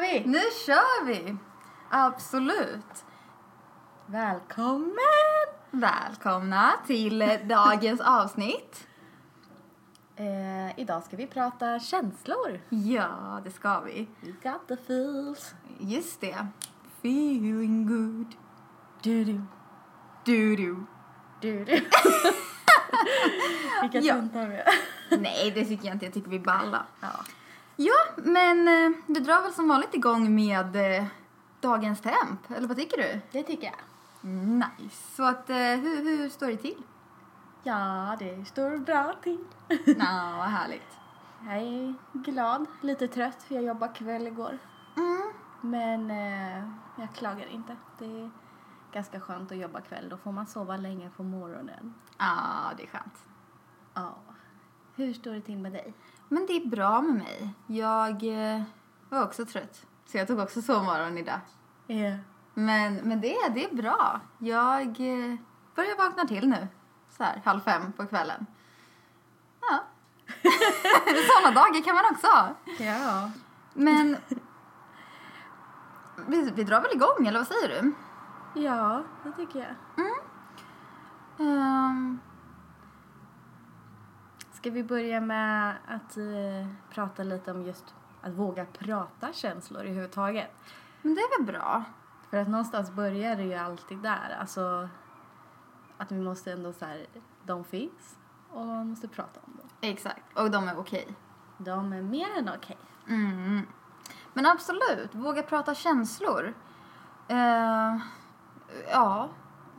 vi! Nu kör vi! Absolut. Välkommen! Välkomna till dagens avsnitt. Eh, idag ska vi prata känslor. Ja, det ska vi. We got the feels. Just det. Feeling good. Du, du, Du, du. du, du. Vilka Ja. tuntar vi Nej, det tycker jag inte. Jag tycker vi balla. ja. Ja, men eh, du drar väl som vanligt igång med eh, dagens temp, eller vad tycker du? Det tycker jag. Nice. Så att, eh, hur, hur står det till? Ja, det står bra till. Nå, vad härligt. Jag är glad, lite trött för jag jobbade kväll igår. Mm. Men eh, jag klagar inte. Det är ganska skönt att jobba kväll. Då får man sova länge på morgonen. Ja, det är skönt. Ja. Hur står det till med dig? Men det är bra med mig. Jag eh, var också trött, så jag tog också sovmorgon idag. Yeah. Men, men det, det är bra. Jag eh, börjar vakna till nu, så här halv fem på kvällen. Ja. Sådana dagar kan man också ha. Ja. Men vi, vi drar väl igång, eller vad säger du? Ja, det tycker jag. Ehm, Ska vi börja med att eh, prata lite om just att våga prata känslor överhuvudtaget? men det är väl bra. För att någonstans börjar det ju alltid där. Alltså att vi måste ändå så här, de finns och man måste prata om dem. Exakt, och de är okej. De är mer än okej. Mm. Men absolut, våga prata känslor. Eh, ja,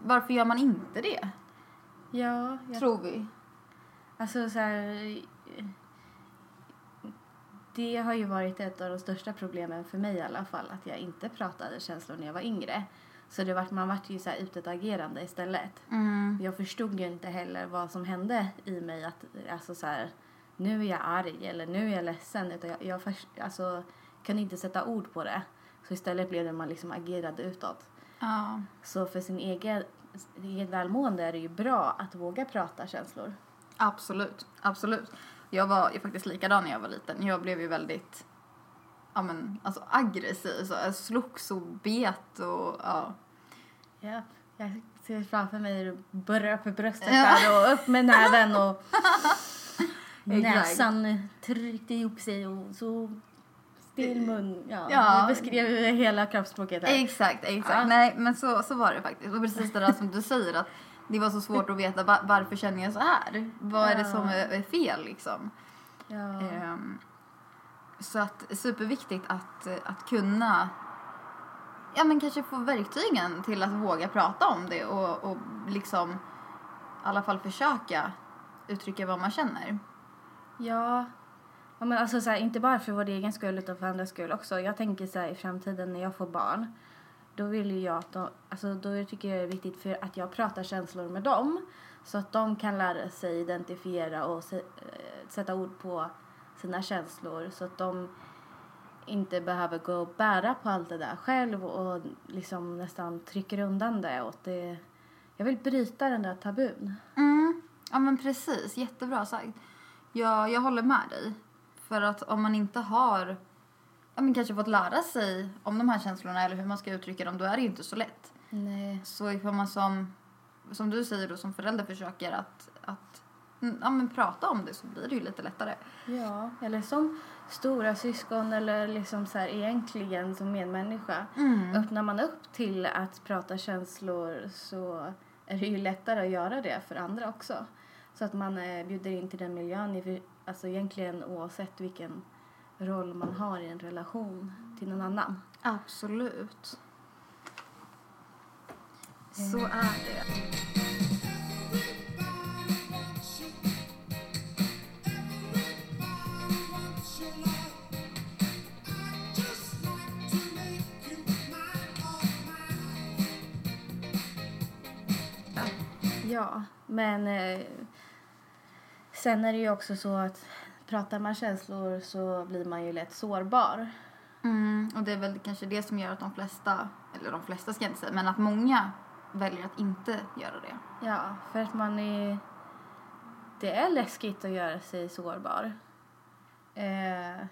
varför gör man inte det? Ja, jag Tror vi. Alltså så här, Det har ju varit ett av de största problemen för mig i alla fall. Att jag inte pratade känslor när jag var yngre. Så det vart, man vart ju så här utåtagerande istället. Mm. Jag förstod ju inte heller vad som hände i mig. Att, alltså så här, nu är jag arg eller nu är jag ledsen. Utan jag jag förs- alltså, kunde inte sätta ord på det. Så istället blev det man liksom agerade utåt. Ja. Så för sin egen, egen välmående är det ju bra att våga prata känslor. Absolut, absolut. Jag var ju faktiskt likadan när jag var liten. Jag blev ju väldigt ja, men, alltså, aggressiv. Så jag slogs och bet och ja. Ja, jag ser framför mig hur du borrar upp i bröstet Ja. där och upp med näven och Exakt. näsan tryckte ihop sig och så stel mun. Ja, Ja. Du beskrev ju hela kroppsspråket där. Exakt, exakt. Ja. Nej, men så, så var det faktiskt. Och precis det där som du säger att det var så svårt att veta va- varför känner jag så här? Vad är det som är, är fel liksom? Ja. Ehm, så att superviktigt att, att kunna ja, men kanske få verktygen till att våga prata om det och, och liksom i alla fall försöka uttrycka vad man känner. Ja. ja men alltså så här, inte bara för vår egen skull utan för andras skull också. Jag tänker så här, i framtiden när jag får barn. Då vill ju jag att de, alltså då tycker jag det är viktigt för att jag pratar känslor med dem. Så att de kan lära sig identifiera och se, eh, sätta ord på sina känslor. Så att de inte behöver gå och bära på allt det där själv och liksom nästan trycker undan det. Och att det jag vill bryta den där tabun. Mm. Ja men precis, jättebra sagt. Jag, jag håller med dig. För att om man inte har ja, men kanske fått lära sig om de här känslorna eller hur man ska uttrycka dem, då är det ju inte så lätt. Nej. Så ifall man som, som du säger då, som förälder försöker att, att mm, ja, men prata om det så blir det ju lite lättare. Ja, eller som stora syskon eller liksom så här egentligen som medmänniska. Mm. Öppnar man upp till att prata känslor så är det ju lättare att göra det för andra också. Så att man eh, bjuder in till den miljön, i- alltså egentligen oavsett vilken roll man har i en relation till någon annan. Absolut. Eh. Så är det. Ja, men eh, sen är det ju också så att pratar man känslor så blir man ju lätt sårbar. Mm, och det är väl kanske det som gör att de flesta, eller de flesta ska jag inte säga, men att många väljer att inte göra det. Ja, för att man är... Det är läskigt att göra sig sårbar. Eh,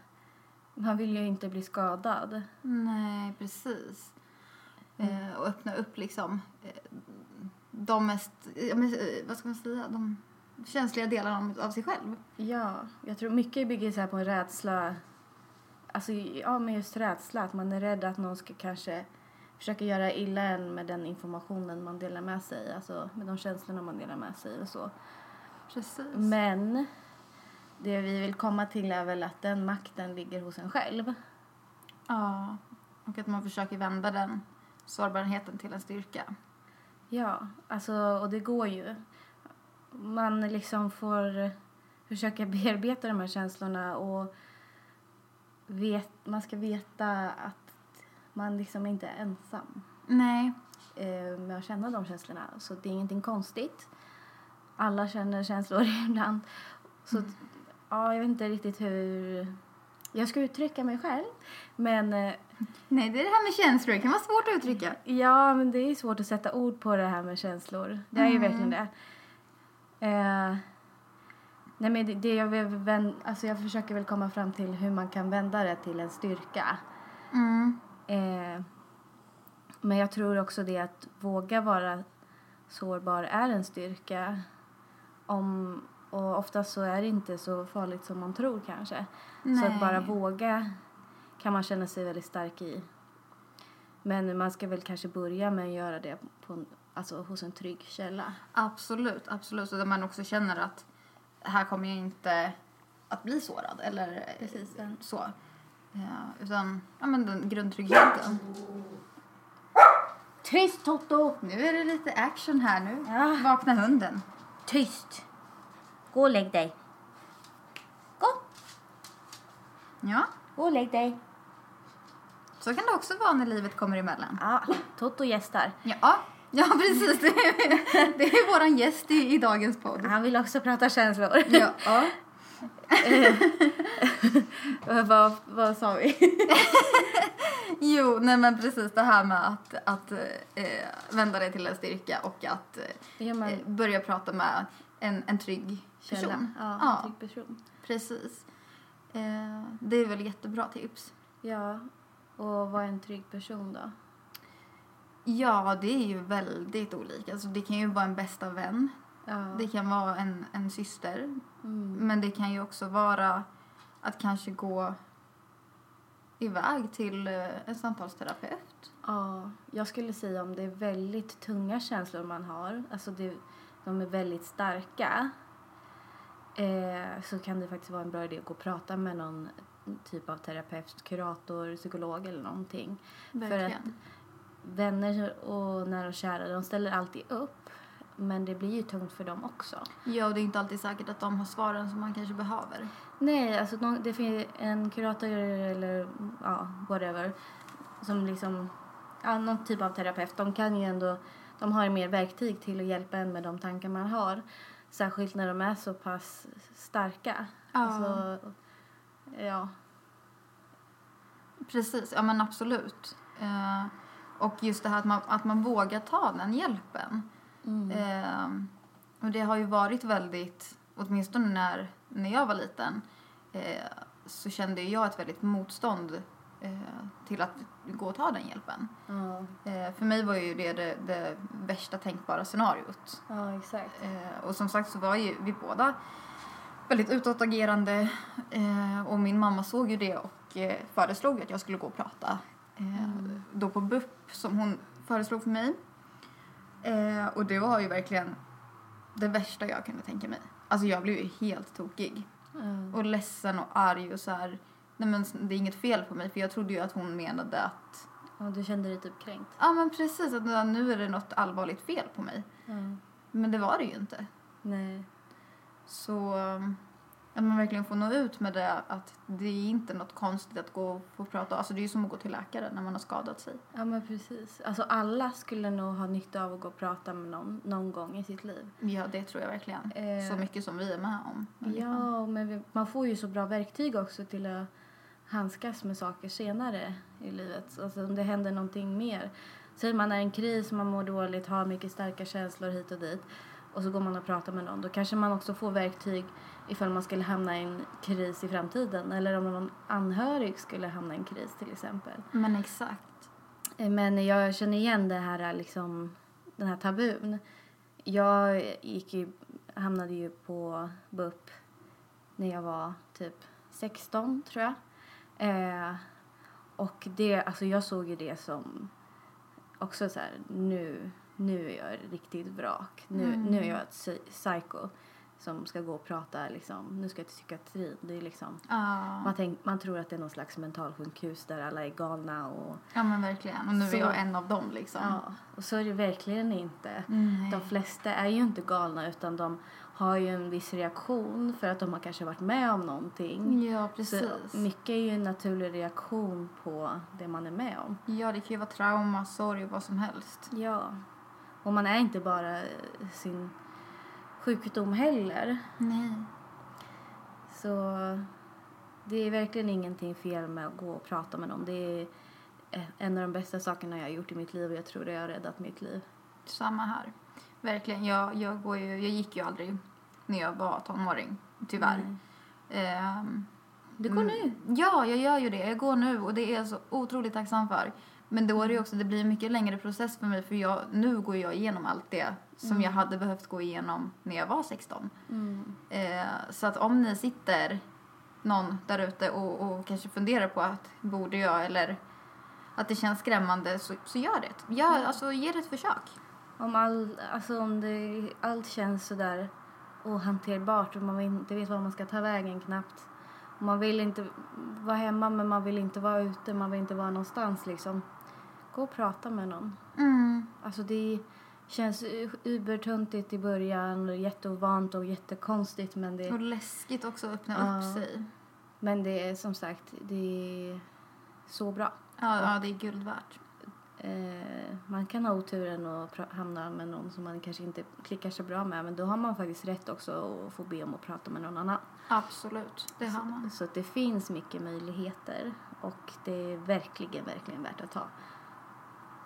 Man vill ju inte bli skadad. Nej, precis. Eh, och öppna upp liksom eh, de mest, ja, men, eh, vad ska man säga, de känsliga delarna om- av sig själv. Ja, jag tror mycket bygger så här på en rädsla. Alltså, ja, men just rädsla. Att man är rädd att någon ska kanske försöka göra illa en med den informationen man delar med sig. Alltså med de känslorna man delar med sig och så. Precis. Men det vi vill komma till är väl att den makten ligger hos en själv. Ja, och att man försöker vända den sårbarheten till en styrka. Ja, alltså, och det går ju. Man liksom får försöka bearbeta de här känslorna och vet, man ska veta att man liksom inte är ensam Nej, eh, med att känna de känslorna. Så det är ingenting konstigt. Alla känner känslor ibland. Så att- ja, jag vet inte riktigt hur jag ska uttrycka mig själv. Men eh, nej det är det här med känslor, det kan vara svårt att uttrycka. Ja, men det är svårt att sätta ord på det här med känslor. Det är ju Mm. verkligen det. Eh, nej, men det, det jag, vill vän, alltså jag försöker väl komma fram till hur man kan vända det till en styrka. Mm. Eh, men jag tror också det att våga vara sårbar är en styrka. Om, och oftast så är det inte så farligt som man tror kanske. Så att bara våga kan man känna sig väldigt stark i. Men man ska väl kanske börja med att göra det på, en- alltså, hos en trygg källa. Absolut, absolut. Så där man också känner att här kommer jag inte att bli sårad eller eh, Precis, den. så. Ja, utan ja, men den grundtryggheten. Tyst Toto! Nu är det lite action här nu. Ja. Vakna hunden. Tyst! Gå och lägg dig. Gå! Ja, Gå och lägg dig. så kan det också vara när livet kommer emellan. Ja, Toto gästar. Ja, ja precis. Det är, det är våran gäst i, i dagens podd. Han vill också prata känslor. Ja, ja. Eh, vad, vad sa vi? Jo, nej men precis det här med att, att eh, vända det till en styrka och att Det gör man. eh, börja prata med en, en trygg Källa. person. Ja, Ja. en trygg person. Precis. Eh, det är väl jättebra tips. Ja, och vad är en trygg person då? Ja, det är ju väldigt olika. Alltså, det kan ju vara en bästa vän, Ja. det kan vara en, en syster. Mm. Men det kan ju också vara att kanske gå iväg till eh, en samtalsterapeut. Ja, jag skulle säga om det är väldigt tunga känslor man har, alltså det, de är väldigt starka, eh, så kan det faktiskt vara en bra idé att gå och prata med någon typ av terapeut, kurator, psykolog eller någonting. Verkligen. Vänner och nära och kära, de ställer alltid upp, men det blir ju tungt för dem också. Ja, och det är inte alltid säkert att de har svaren som man kanske behöver. Nej, alltså någon, det finns en kurator eller ja, whatever som liksom, ja, någon typ av terapeut, de kan ju ändå, de har ju mer verktyg till att hjälpa en med de tankar man har. Särskilt när de är så pass starka. Ja. Alltså, ja. Precis, ja men absolut. Eh, och just det här att man, att man vågar ta den hjälpen. Mm. Eh, och det har ju varit väldigt, åtminstone när, när jag var liten, eh, så kände ju jag ett väldigt motstånd eh, till att gå och ta den hjälpen. Ja, Eh, för mig var ju det det, det värsta tänkbara scenariot. ja exakt. Eh, och som sagt så var ju vi båda väldigt utåtagerande eh, och min mamma såg ju det och eh, föreslog att jag skulle gå och prata. Eh, Då på BUP som hon föreslog för mig. Eh, och det var ju verkligen det värsta jag kunde tänka mig. Alltså jag blev ju helt tokig Ja. och ledsen och arg och så här. Nej men det är inget fel på mig för jag trodde ju att hon menade att Och du kände dig typ kränkt? ja men precis att nu är det något allvarligt fel på mig. Ja. Men det var det ju inte. Nej. Så um, att man verkligen får nå ut med det att det är inte något konstigt att gå och prata. Alltså det är ju som att gå till läkare när man har skadat sig. Ja men precis. Alltså alla skulle nog ha nytta av att gå och prata med någon någon gång i sitt liv. Ja, det tror jag verkligen. Eh. Så mycket som vi är med om. Liksom. Ja, men vi, man får ju så bra verktyg också till att handskas med saker senare i livet. Alltså om det händer någonting mer. Säg man är i en kris, man mår dåligt, har mycket starka känslor hit och dit. och så går man och pratar med någon. Då kanske man också får verktyg ifall man skulle hamna i en kris i framtiden eller om någon anhörig skulle hamna i en kris till exempel. Men exakt. Eh, Men jag känner igen det här, liksom, den här tabun. Jag gick ju, hamnade ju på BUP när jag var typ 16, tror jag. Eh, och det, alltså jag såg ju det som också så här, nu, nu är jag riktigt vrak. Nu, Mm. nu är jag ett psy- psycho som ska gå och prata liksom, nu ska jag till psykiatrin. Det är liksom, Ja. man, tänk, man tror att det är någon slags mentalsjukhus där alla är galna och ja, men verkligen. Och nu Så- är jag en av dem liksom. Ja, och så är det verkligen inte. Nej. De flesta är ju inte galna utan de har ju en viss reaktion för att de har kanske varit med om någonting. Ja, Mm, precis. Så mycket är ju en naturlig reaktion på det man är med om. Ja, det kan ju vara trauma, sorg, vad som helst. Ja. Och man är inte bara eh, sin sjukdom heller. Nej. Så det är verkligen ingenting fel med att gå och prata med någon. Det är eh, en av de bästa sakerna jag har gjort i mitt liv och jag tror det har räddat mitt liv. Samma här. Verkligen. Jag, jag, går ju, jag gick ju aldrig när jag var tonåring, tyvärr. Mm. Ehm, Du går nu. Ja, jag gör ju det. Jag går nu och det är jag så otroligt tacksam för. Men då är det ju också, det blir en mycket längre process för mig för jag, nu går jag igenom allt det som jag hade behövt gå igenom när jag var 16. Eh, så att om ni sitter någon där ute och, och kanske funderar på att borde jag eller att det känns skrämmande så, så gör det. Gör, alltså, ge det ett försök. Om, all, alltså om det, allt känns sådär ohanterbart och man inte vet var man ska ta vägen knappt. Man vill inte vara hemma men man vill inte vara ute, man vill inte vara någonstans liksom. Gå och prata med någon. Mm. Alltså det känns u- ubertöntigt i början och jätteovant och jättekonstigt men det, Och läskigt också att öppna Ja. upp sig. men det är som sagt det är så bra. Ja, ja, det är guld värt. Eh, man kan ha oturen och pra- hamna med någon som man kanske inte klickar så bra med men då har man faktiskt rätt också att få be om att prata med någon annan. Absolut, det har man. Så att det finns mycket möjligheter och det är verkligen, verkligen värt att ta.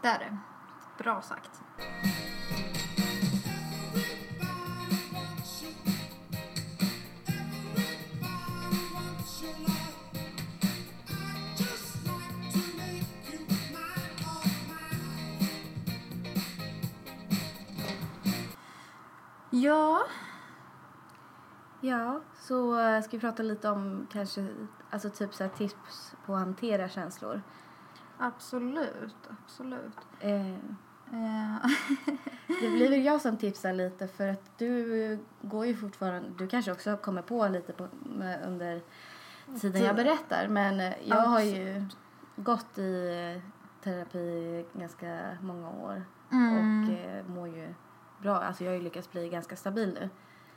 Det är det. Bra sagt. Ja, Ja, så eh, ska vi prata lite om kanske alltså typ så här tips på att hantera känslor. absolut, absolut. Eh, Eh, det blir väl jag som tipsar lite för att du går ju fortfarande, du kanske också kommer på lite på, med, under tiden jag berättar men eh, jag har ju gått i eh, terapi ganska många år Mm. och eh, mår ju bra. Alltså jag har ju lyckats bli ganska stabil nu.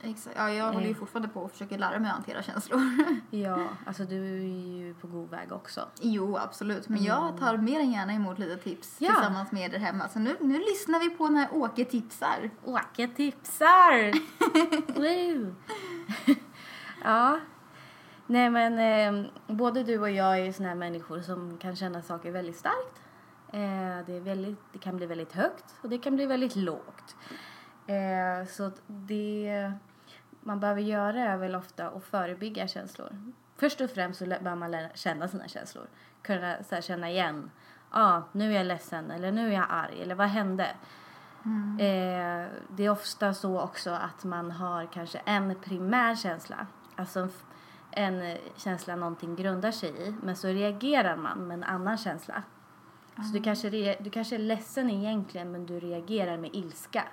Exakt. Ja, jag håller ju Eh. fortfarande på och försöker lära mig att hantera känslor. Ja, alltså du är ju på god väg också. jo, absolut. Men jag tar mer än gärna emot lite tips Ja. tillsammans med er där hemma. Så nu, nu lyssnar vi på när Åke tipsar. Åke tipsar! Woo! ja. Nej men eh, både du och jag är ju såna här människor som kan känna saker väldigt starkt. Eh, det, är väldigt, det kan bli väldigt högt och det kan bli väldigt lågt. Eh, så att det man behöver göra är väl ofta att förebygga känslor. Först och främst så lä- behöver man lära känna sina känslor. Kunna så här, känna igen. Ja, ah, nu är jag ledsen eller nu är jag arg eller vad hände? Eh, det är ofta så också att man har kanske en primär känsla. Alltså en, f- en eh, känsla någonting grundar sig i. Men så reagerar man med en annan känsla. Så du kanske, re, du kanske är ledsen egentligen men du reagerar med ilska.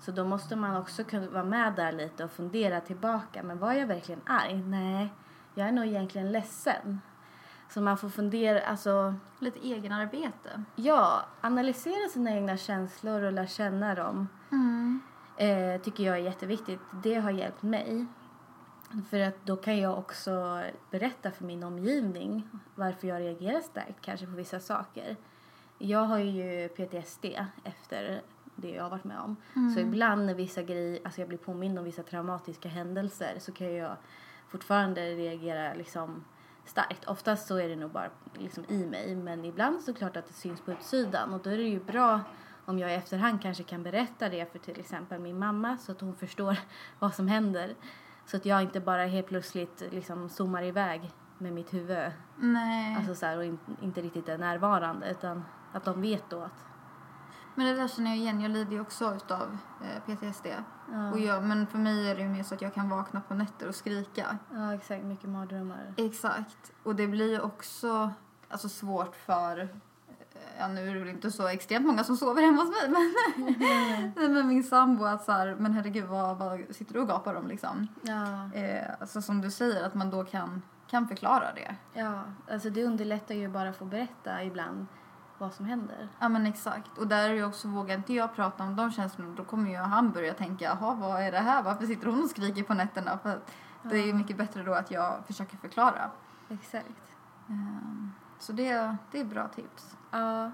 Så då måste man också kunna vara med där lite och fundera tillbaka. Men var jag verkligen arg? Nej, jag är nog egentligen ledsen. Så man får fundera, alltså Lite egenarbete. ja, analysera sina egna känslor och lära känna dem Mm. eh, tycker jag är jätteviktigt. Det har hjälpt mig. För att då kan jag också berätta för min omgivning varför jag reagerar starkt kanske på vissa saker. Jag har ju PTSD efter det jag har varit med om. Så ibland när vissa grejer, alltså jag blir påmind om vissa traumatiska händelser så kan jag fortfarande reagera liksom starkt. Oftast så är det nog bara liksom i mig men ibland såklart att det syns på utsidan och då är det ju bra om jag i efterhand kanske kan berätta det för till exempel min mamma så att hon förstår vad som händer. Så att jag inte bara helt plötsligt liksom zoomar iväg med mitt huvud Nej. alltså så här, och in, inte riktigt är närvarande utan att de vet då att Men det där känner jag igen. Jag lider ju också utav eh, PTSD. ja, Och jag, men för mig är det ju mer så att jag kan vakna på nätter och skrika. ja exakt, mycket mardrömmar. Exakt. Och det blir ju också alltså, svårt för... eh, Ja, nu är det väl inte så extremt många som sover hemma hos mig, men, Nej, men min sambo att så här, men herregud, vad, vad sitter du och gapar om liksom? Ja, Eh, alltså som du säger, att man då kan, kan förklara det. ja, alltså det underlättar ju bara att få berätta ibland vad som händer. Ja men exakt. Och där är ju också, vågar inte jag prata om de känslorna, då kommer ju han börja tänka, jaha vad är det här, varför sitter hon och skriker på nätterna? För att det är ju mycket bättre då att jag försöker förklara. Exakt. Ehm, så det, det är bra tips. Ja.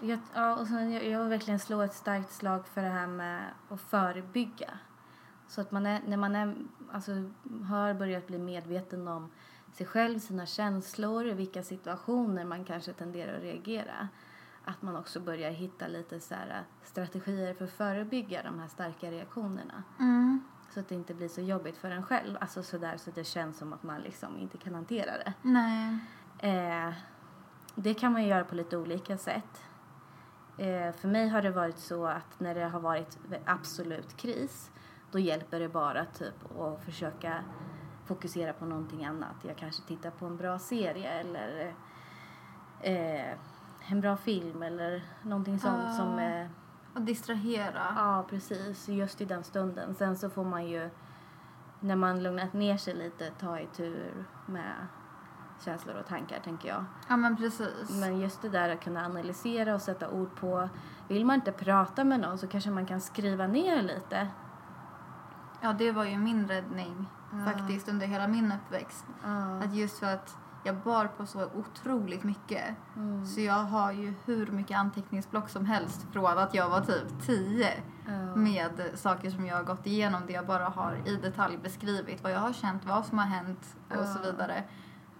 Jag, ja, och sen, jag, jag vill verkligen slå ett starkt slag för det här med att förebygga. Så att man är, när man är, alltså, har börjat bli medveten om sig själv, sina känslor, vilka situationer man kanske tenderar att reagera. Att man också börjar hitta lite så här, äh, strategier för att förebygga de här starka reaktionerna. Så att det inte blir så jobbigt för en själv. Alltså sådär så att det känns som att man liksom inte kan hantera det. Nej. Eh, det kan man ju göra på lite olika sätt. Eh, för mig har det varit så att när det har varit absolut kris då hjälper det bara typ att försöka fokusera på någonting annat. Jag kanske tittar på en bra serie eller eh, en bra film eller någonting sånt Ja. som... Eh, Att distrahera. ja, precis. Just i den stunden. Sen så får man ju, när man lugnat ner sig lite, ta i tur med känslor och tankar, tänker jag. Ja men precis. Men just det där att kunna analysera och sätta ord på. Vill man inte prata med någon så kanske man kan skriva ner lite. Ja det var ju min räddning Ja. faktiskt under hela min uppväxt. Ja. Att just för att jag bar på så otroligt mycket Mm. Så jag har ju hur mycket anteckningsblock som helst från att jag var typ 10 Ja. med saker som jag har gått igenom där jag bara har i detalj beskrivit vad jag har känt, vad som har hänt och så Ja. vidare.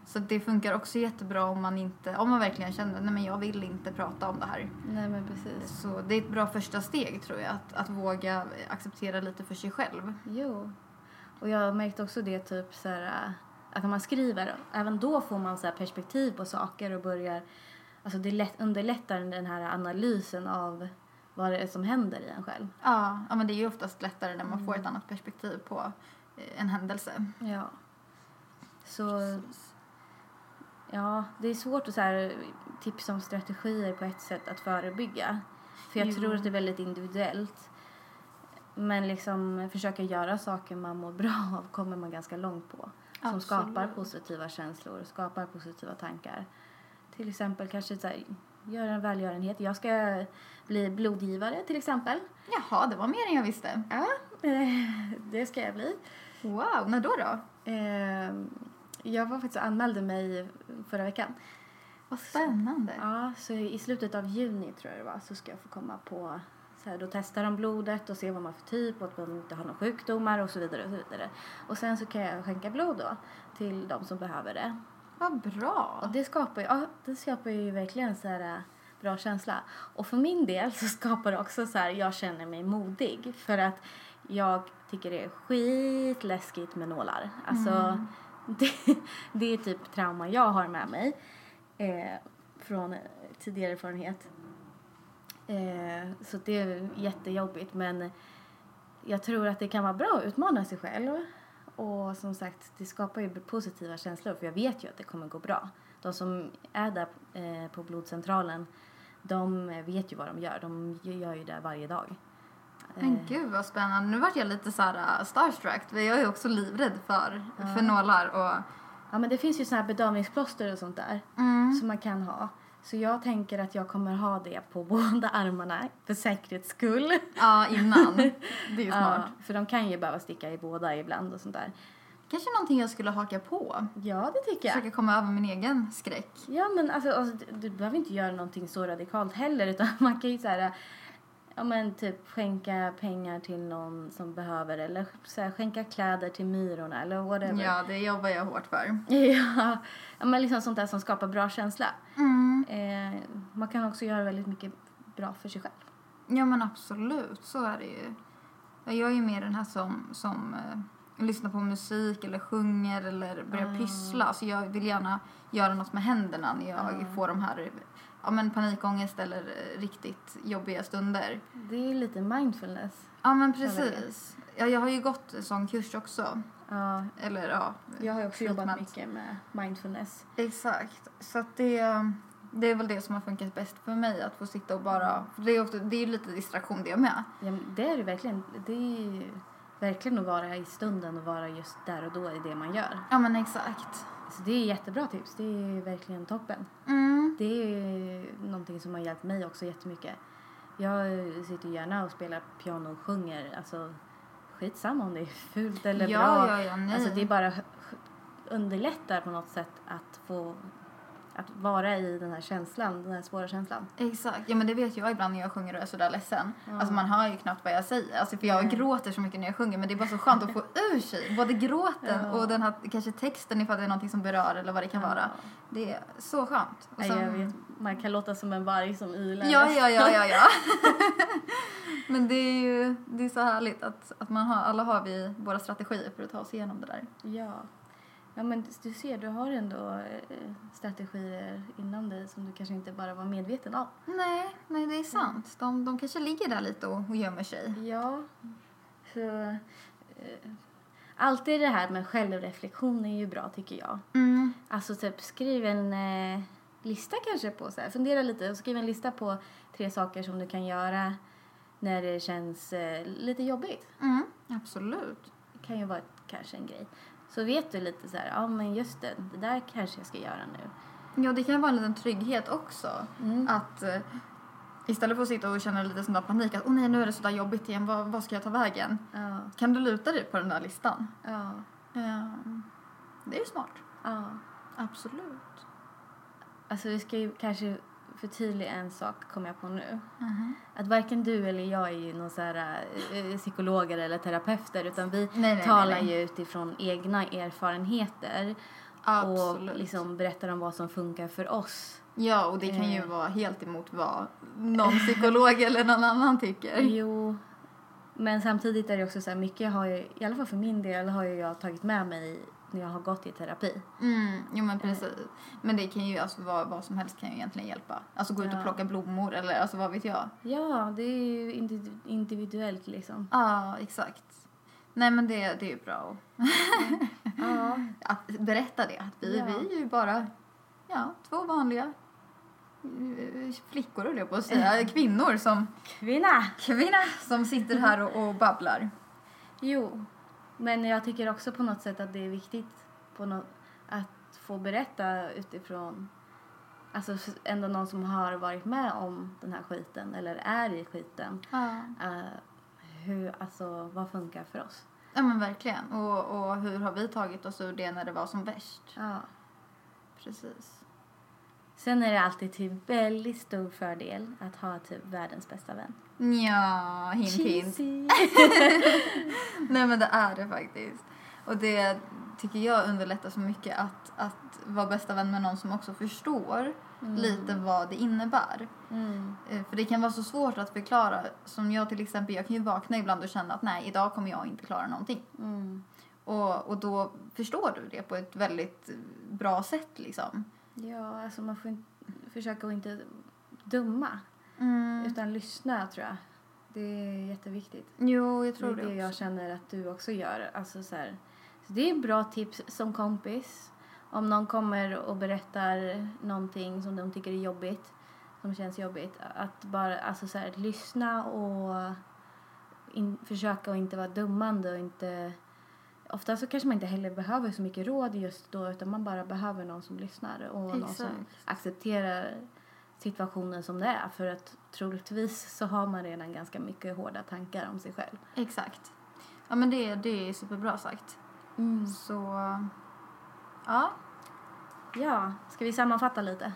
Så det funkar också jättebra om man inte, om man verkligen känner nej men jag vill inte prata om det här. Nej men precis. Så det är ett bra första steg tror jag, att, att våga acceptera lite för sig själv. Jo. Och jag märkte också det typ så här äh, att när man skriver, även då får man så här perspektiv på saker och börjar, alltså det lätt, underlättar den här analysen av vad det är som händer i en själv. Ja, ja men det är ju oftast lättare när man får Mm. ett annat perspektiv på eh, en händelse. Ja. Så Ja, det är svårt att så här, tipsa om strategier på ett sätt att förebygga. För jag Jo. tror att det är väldigt individuellt. Men liksom försöka göra saker man mår bra av kommer man ganska långt på. Som Absolut. skapar positiva känslor, skapar positiva tankar. Till exempel kanske så här, göra en välgörenhet. Jag ska bli blodgivare till exempel. Jaha, det var mer än jag visste. Ja, eh, det ska jag bli. Wow, när då då? Eh, Jag var faktiskt och anmälde mig förra veckan. Vad spännande. Ja, så i slutet av juni tror jag det var så ska jag få komma på så här, då testar de blodet och ser vad man har för typ och att man inte har några sjukdomar och så vidare och så vidare. Och sen så kan jag skänka blod då till de som behöver det. Vad bra. Och det skapar ju, ja, det skapar ju verkligen så här äh, bra känsla. Och för min del så skapar det också så här, jag känner mig modig för att jag tycker det är skitläskigt med nålar. Alltså, det, det är typ trauma jag har med mig eh, från tidigare erfarenhet. Eh, så det är jättejobbigt men jag tror att det kan vara bra att utmana sig själv. Och som sagt, det skapar ju positiva känslor för jag vet ju att det kommer gå bra. De som är där eh, på blodcentralen, de vet ju vad de gör. De gör ju det varje dag. Mm. Men gud vad spännande. Nu vart jag lite så här uh, starstruck. för Jag är också livrädd för, för nålar och... Ja men det finns ju såna här bedövningsplåster och sånt där Mm. som man kan ha. Så jag tänker att jag kommer ha det på båda armarna för säkerhets skull. Ja, innan. Det är ju smart. Ja, för de kan ju behöva sticka i båda ibland och sånt där. Kanske någonting jag skulle haka på. Ja det tycker jag. Försöka komma över min egen skräck. Ja, men alltså, alltså, du- du behöver inte göra någonting så radikalt heller utan man kan ju så här, ja men typ skänka pengar till någon som behöver eller så här, skänka kläder till myrorna eller whatever. Ja, det jobbar jag hårt för. Ja, ja, men liksom sånt där som skapar bra känsla. Mm. Eh, man kan också göra väldigt mycket bra för sig själv. Ja men absolut, så är det ju. Jag är ju mer den här som, som eh, lyssnar på musik eller sjunger eller börjar Mm. pyssla. Så jag vill gärna göra något med händerna när jag Mm. får de här ja, men panikångest eller eh, riktigt jobbiga stunder. Det är lite mindfulness. Ja men Känner jag. precis. Ja, jag har ju gått en sån kurs också. Ja, Eller ja. jag har ju också jobbat Treatment. mycket med mindfulness. Exakt. Så att det, det är väl det som har funkat bäst för mig. Att få sitta och Mm. bara... för Det är, ofta, det är ju lite distraktion det med. Ja, men det är det verkligen. Det är ju verkligen att vara i stunden och vara just där och då i det man gör. Ja men exakt. Så Alltså, det är jättebra tips. Det är verkligen toppen. Mm. Det är ju någonting som har hjälpt mig också jättemycket. Jag sitter ju gärna och spelar piano och sjunger. Alltså, skitsamma om det är fult eller ja, bra. Ja, ja, nej. Alltså det är bara underlättar på något sätt att få att vara i den här känslan, den här svåra känslan. Exakt. Ja, men det vet jag ibland när jag sjunger och är sådär ledsen. Ja. Alltså man hör ju knappt vad jag säger. Alltså för jag Nej. gråter så mycket när jag sjunger men det är bara så skönt att få ur sig både gråten Ja. och den här kanske texten ifall det är någonting som berör eller vad det kan vara. Det är så skönt. Och Nej, sen- jag vet, man kan låta som en varg som ylar. Ja, ja, ja, ja, ja. men det är ju det är så härligt att, att man har, alla har vi våra strategier för att ta oss igenom det där. Ja. Ja, men du ser, du har ändå eh, strategier inom dig som du kanske inte bara var medveten om. Nej, nej det är sant. De, de kanske ligger där lite och, och gömmer sig. Ja. Så, eh, alltid det här med självreflektion är ju bra tycker jag. Mm. Alltså typ skriv en eh, lista kanske på så här. Fundera lite och skriv en lista på tre saker som du kan göra när det känns eh, lite jobbigt. Mm. Absolut. Det kan ju vara ett- kanske en grej. Så vet du lite så här, ja men just det, det där kanske jag ska göra nu. Ja, det kan vara en liten trygghet också. Mm. Att eh, istället för att sitta och känna lite sån där panik att åh nej nu är det så där jobbigt igen, vad, vad ska jag ta vägen? Ja, Kan du luta dig på den där listan? ja, Ehm, det är ju smart. ja. Absolut. Alltså vi ska ju kanske förtydliga en sak kom jag på nu. Mhm. Att varken du eller jag är ju någon så här, eh, psykologer eller terapeuter utan vi Nej, nej, talar nej, nej. ju utifrån egna erfarenheter. Absolut. och liksom berättar om vad som funkar för oss. Ja, och det kan ju Eh. vara helt emot vad någon psykolog eller någon annan Mm. tycker. Jo, men samtidigt är det också så här mycket har ju, i alla fall för min del, har ju jag tagit med mig när jag har gått i terapi. Mm, jo Eh. men precis. Men det kan ju, alltså vad, vad som helst kan ju egentligen hjälpa. Alltså gå ut och Ja. plocka blommor eller alltså vad vet jag. Ja, det är ju indiv- individuellt liksom. Ja, exakt. Nej men det, det är ju bra att Ja, att berätta det. Att vi, Ja. vi är ju bara ja, två vanliga eh, flickor, höll jag på att säga. Kvinnor som, kvinna! kvinna, som sitter här och, och babblar. Jo, men jag tycker också på något sätt att det är viktigt på nå- att få berätta utifrån Alltså f- ändå någon som har varit med om den här skiten eller är i skiten. Ja. eh, hur, alltså vad funkar för oss? ja, men verkligen. Och, och hur har vi tagit oss ur det när det var som värst? Ja. Precis. Sen är det alltid till väldigt stor fördel att ha typ världens bästa vän. Ja, hint hint. Cheesy. Nej men det är det faktiskt. Och det tycker jag underlättar så mycket att, att vara bästa vän med någon som också förstår Mm. lite vad det innebär. Mm. Eh, För det kan vara så svårt att förklara. Som jag till exempel, jag kan ju vakna ibland och känna att nej, idag kommer jag inte klara någonting. Mm. Och, och då förstår du det på ett väldigt eh, bra sätt liksom. Ja, alltså man får inte, försöka att inte dumma Mm. utan lyssna tror jag. Det är jätteviktigt. Jo, jag tror det är det Mm, det jag också. känner att du också gör. Alltså, så här, så det är bra tips som kompis. Om någon kommer och berättar någonting som de tycker är jobbigt, som känns jobbigt, att bara alltså, så här, lyssna och in, försöka att inte vara dummande och inte... Ofta så kanske man inte heller behöver så mycket råd just då utan man bara behöver någon som lyssnar och någon som Exakt. accepterar situationen som det är för att troligtvis så har man redan ganska mycket hårda tankar om sig själv. Exakt. Ja men det, det är superbra sagt. Mm. Så, ja. Ja, ska vi sammanfatta lite?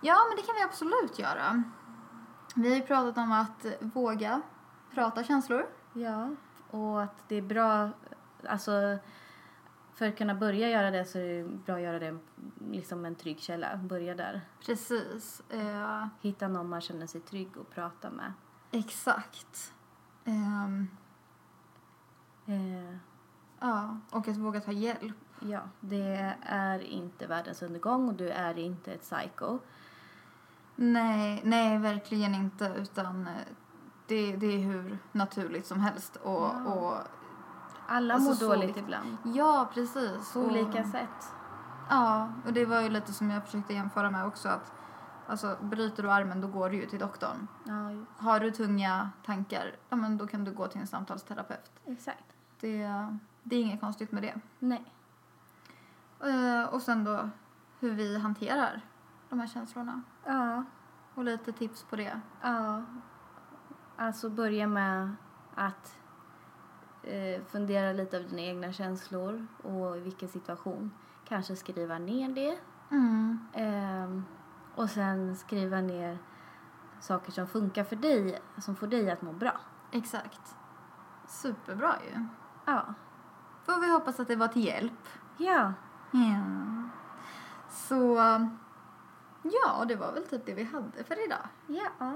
Ja men det kan vi absolut göra. Vi har ju pratat om att våga prata känslor. Ja. Och att det är bra, alltså för att kunna börja göra det så är det bra att göra det liksom en trygg källa. Börja där. Precis. Eh, Hitta någon man känner sig trygg att prata med. Exakt. Ehm, Eh, ja, och att våga ta hjälp. ja, det är inte världens undergång och du är inte ett psycho. Nej, nej verkligen inte. Utan eh, det, det är hur naturligt som helst. Och, Ja. och, Alla Alltså, mår så dåligt viktigt. ibland. ja, precis. På och, olika sätt. Ja, och det var ju lite som jag försökte jämföra med också. att alltså, Bryter du armen då går du ju till doktorn. Ja, ju- Har du tunga tankar, ja, men då kan du gå till en samtalsterapeut. exakt. Det, det är inget konstigt med det. Nej. Eh, Och sen då hur vi hanterar de här känslorna. Ja, Och lite tips på det. ja. Alltså börja med att eh, fundera lite över dina egna känslor och i vilken situation. Kanske skriva ner det. Mm. Ehm, och sen skriva ner saker som funkar för dig, som får dig att må bra. Exakt. Superbra ju. Ja. Får vi hoppas att det var till hjälp. Ja. Ja. Så ja, det var väl typ det vi hade för idag. Ja.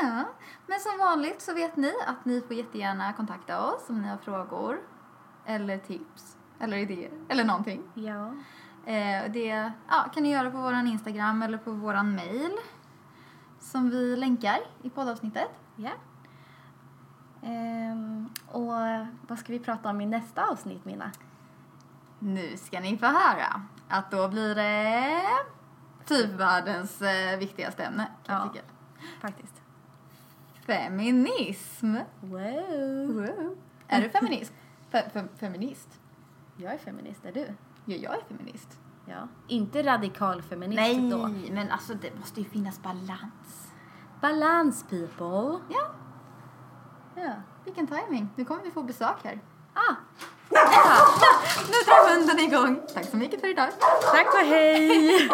Ja, men som vanligt så vet ni att ni får jättegärna kontakta oss om ni har frågor eller tips eller idéer eller någonting. Ja. Eh, och det ja, kan ni göra på vår Instagram eller på vår mail som vi länkar i poddavsnittet. Ja. Ehm, och vad ska vi prata om i nästa avsnitt, Minna? Nu ska ni få höra att då blir det typ världens eh, viktigaste ämne kan jag Ja. tycka. Faktiskt. Feminism. Wow. Är du feminist? Fe- fe- feminist? Jag är feminist, är du? Ja, jag är feminist. Ja. Inte radikal feminist då. men alltså det måste ju finnas balans. Balans people. Ja, Ja. vilken timing. Nu kommer vi få besök här. Ah, Nu drar hunden igång. Tack så mycket för idag. tack och hej!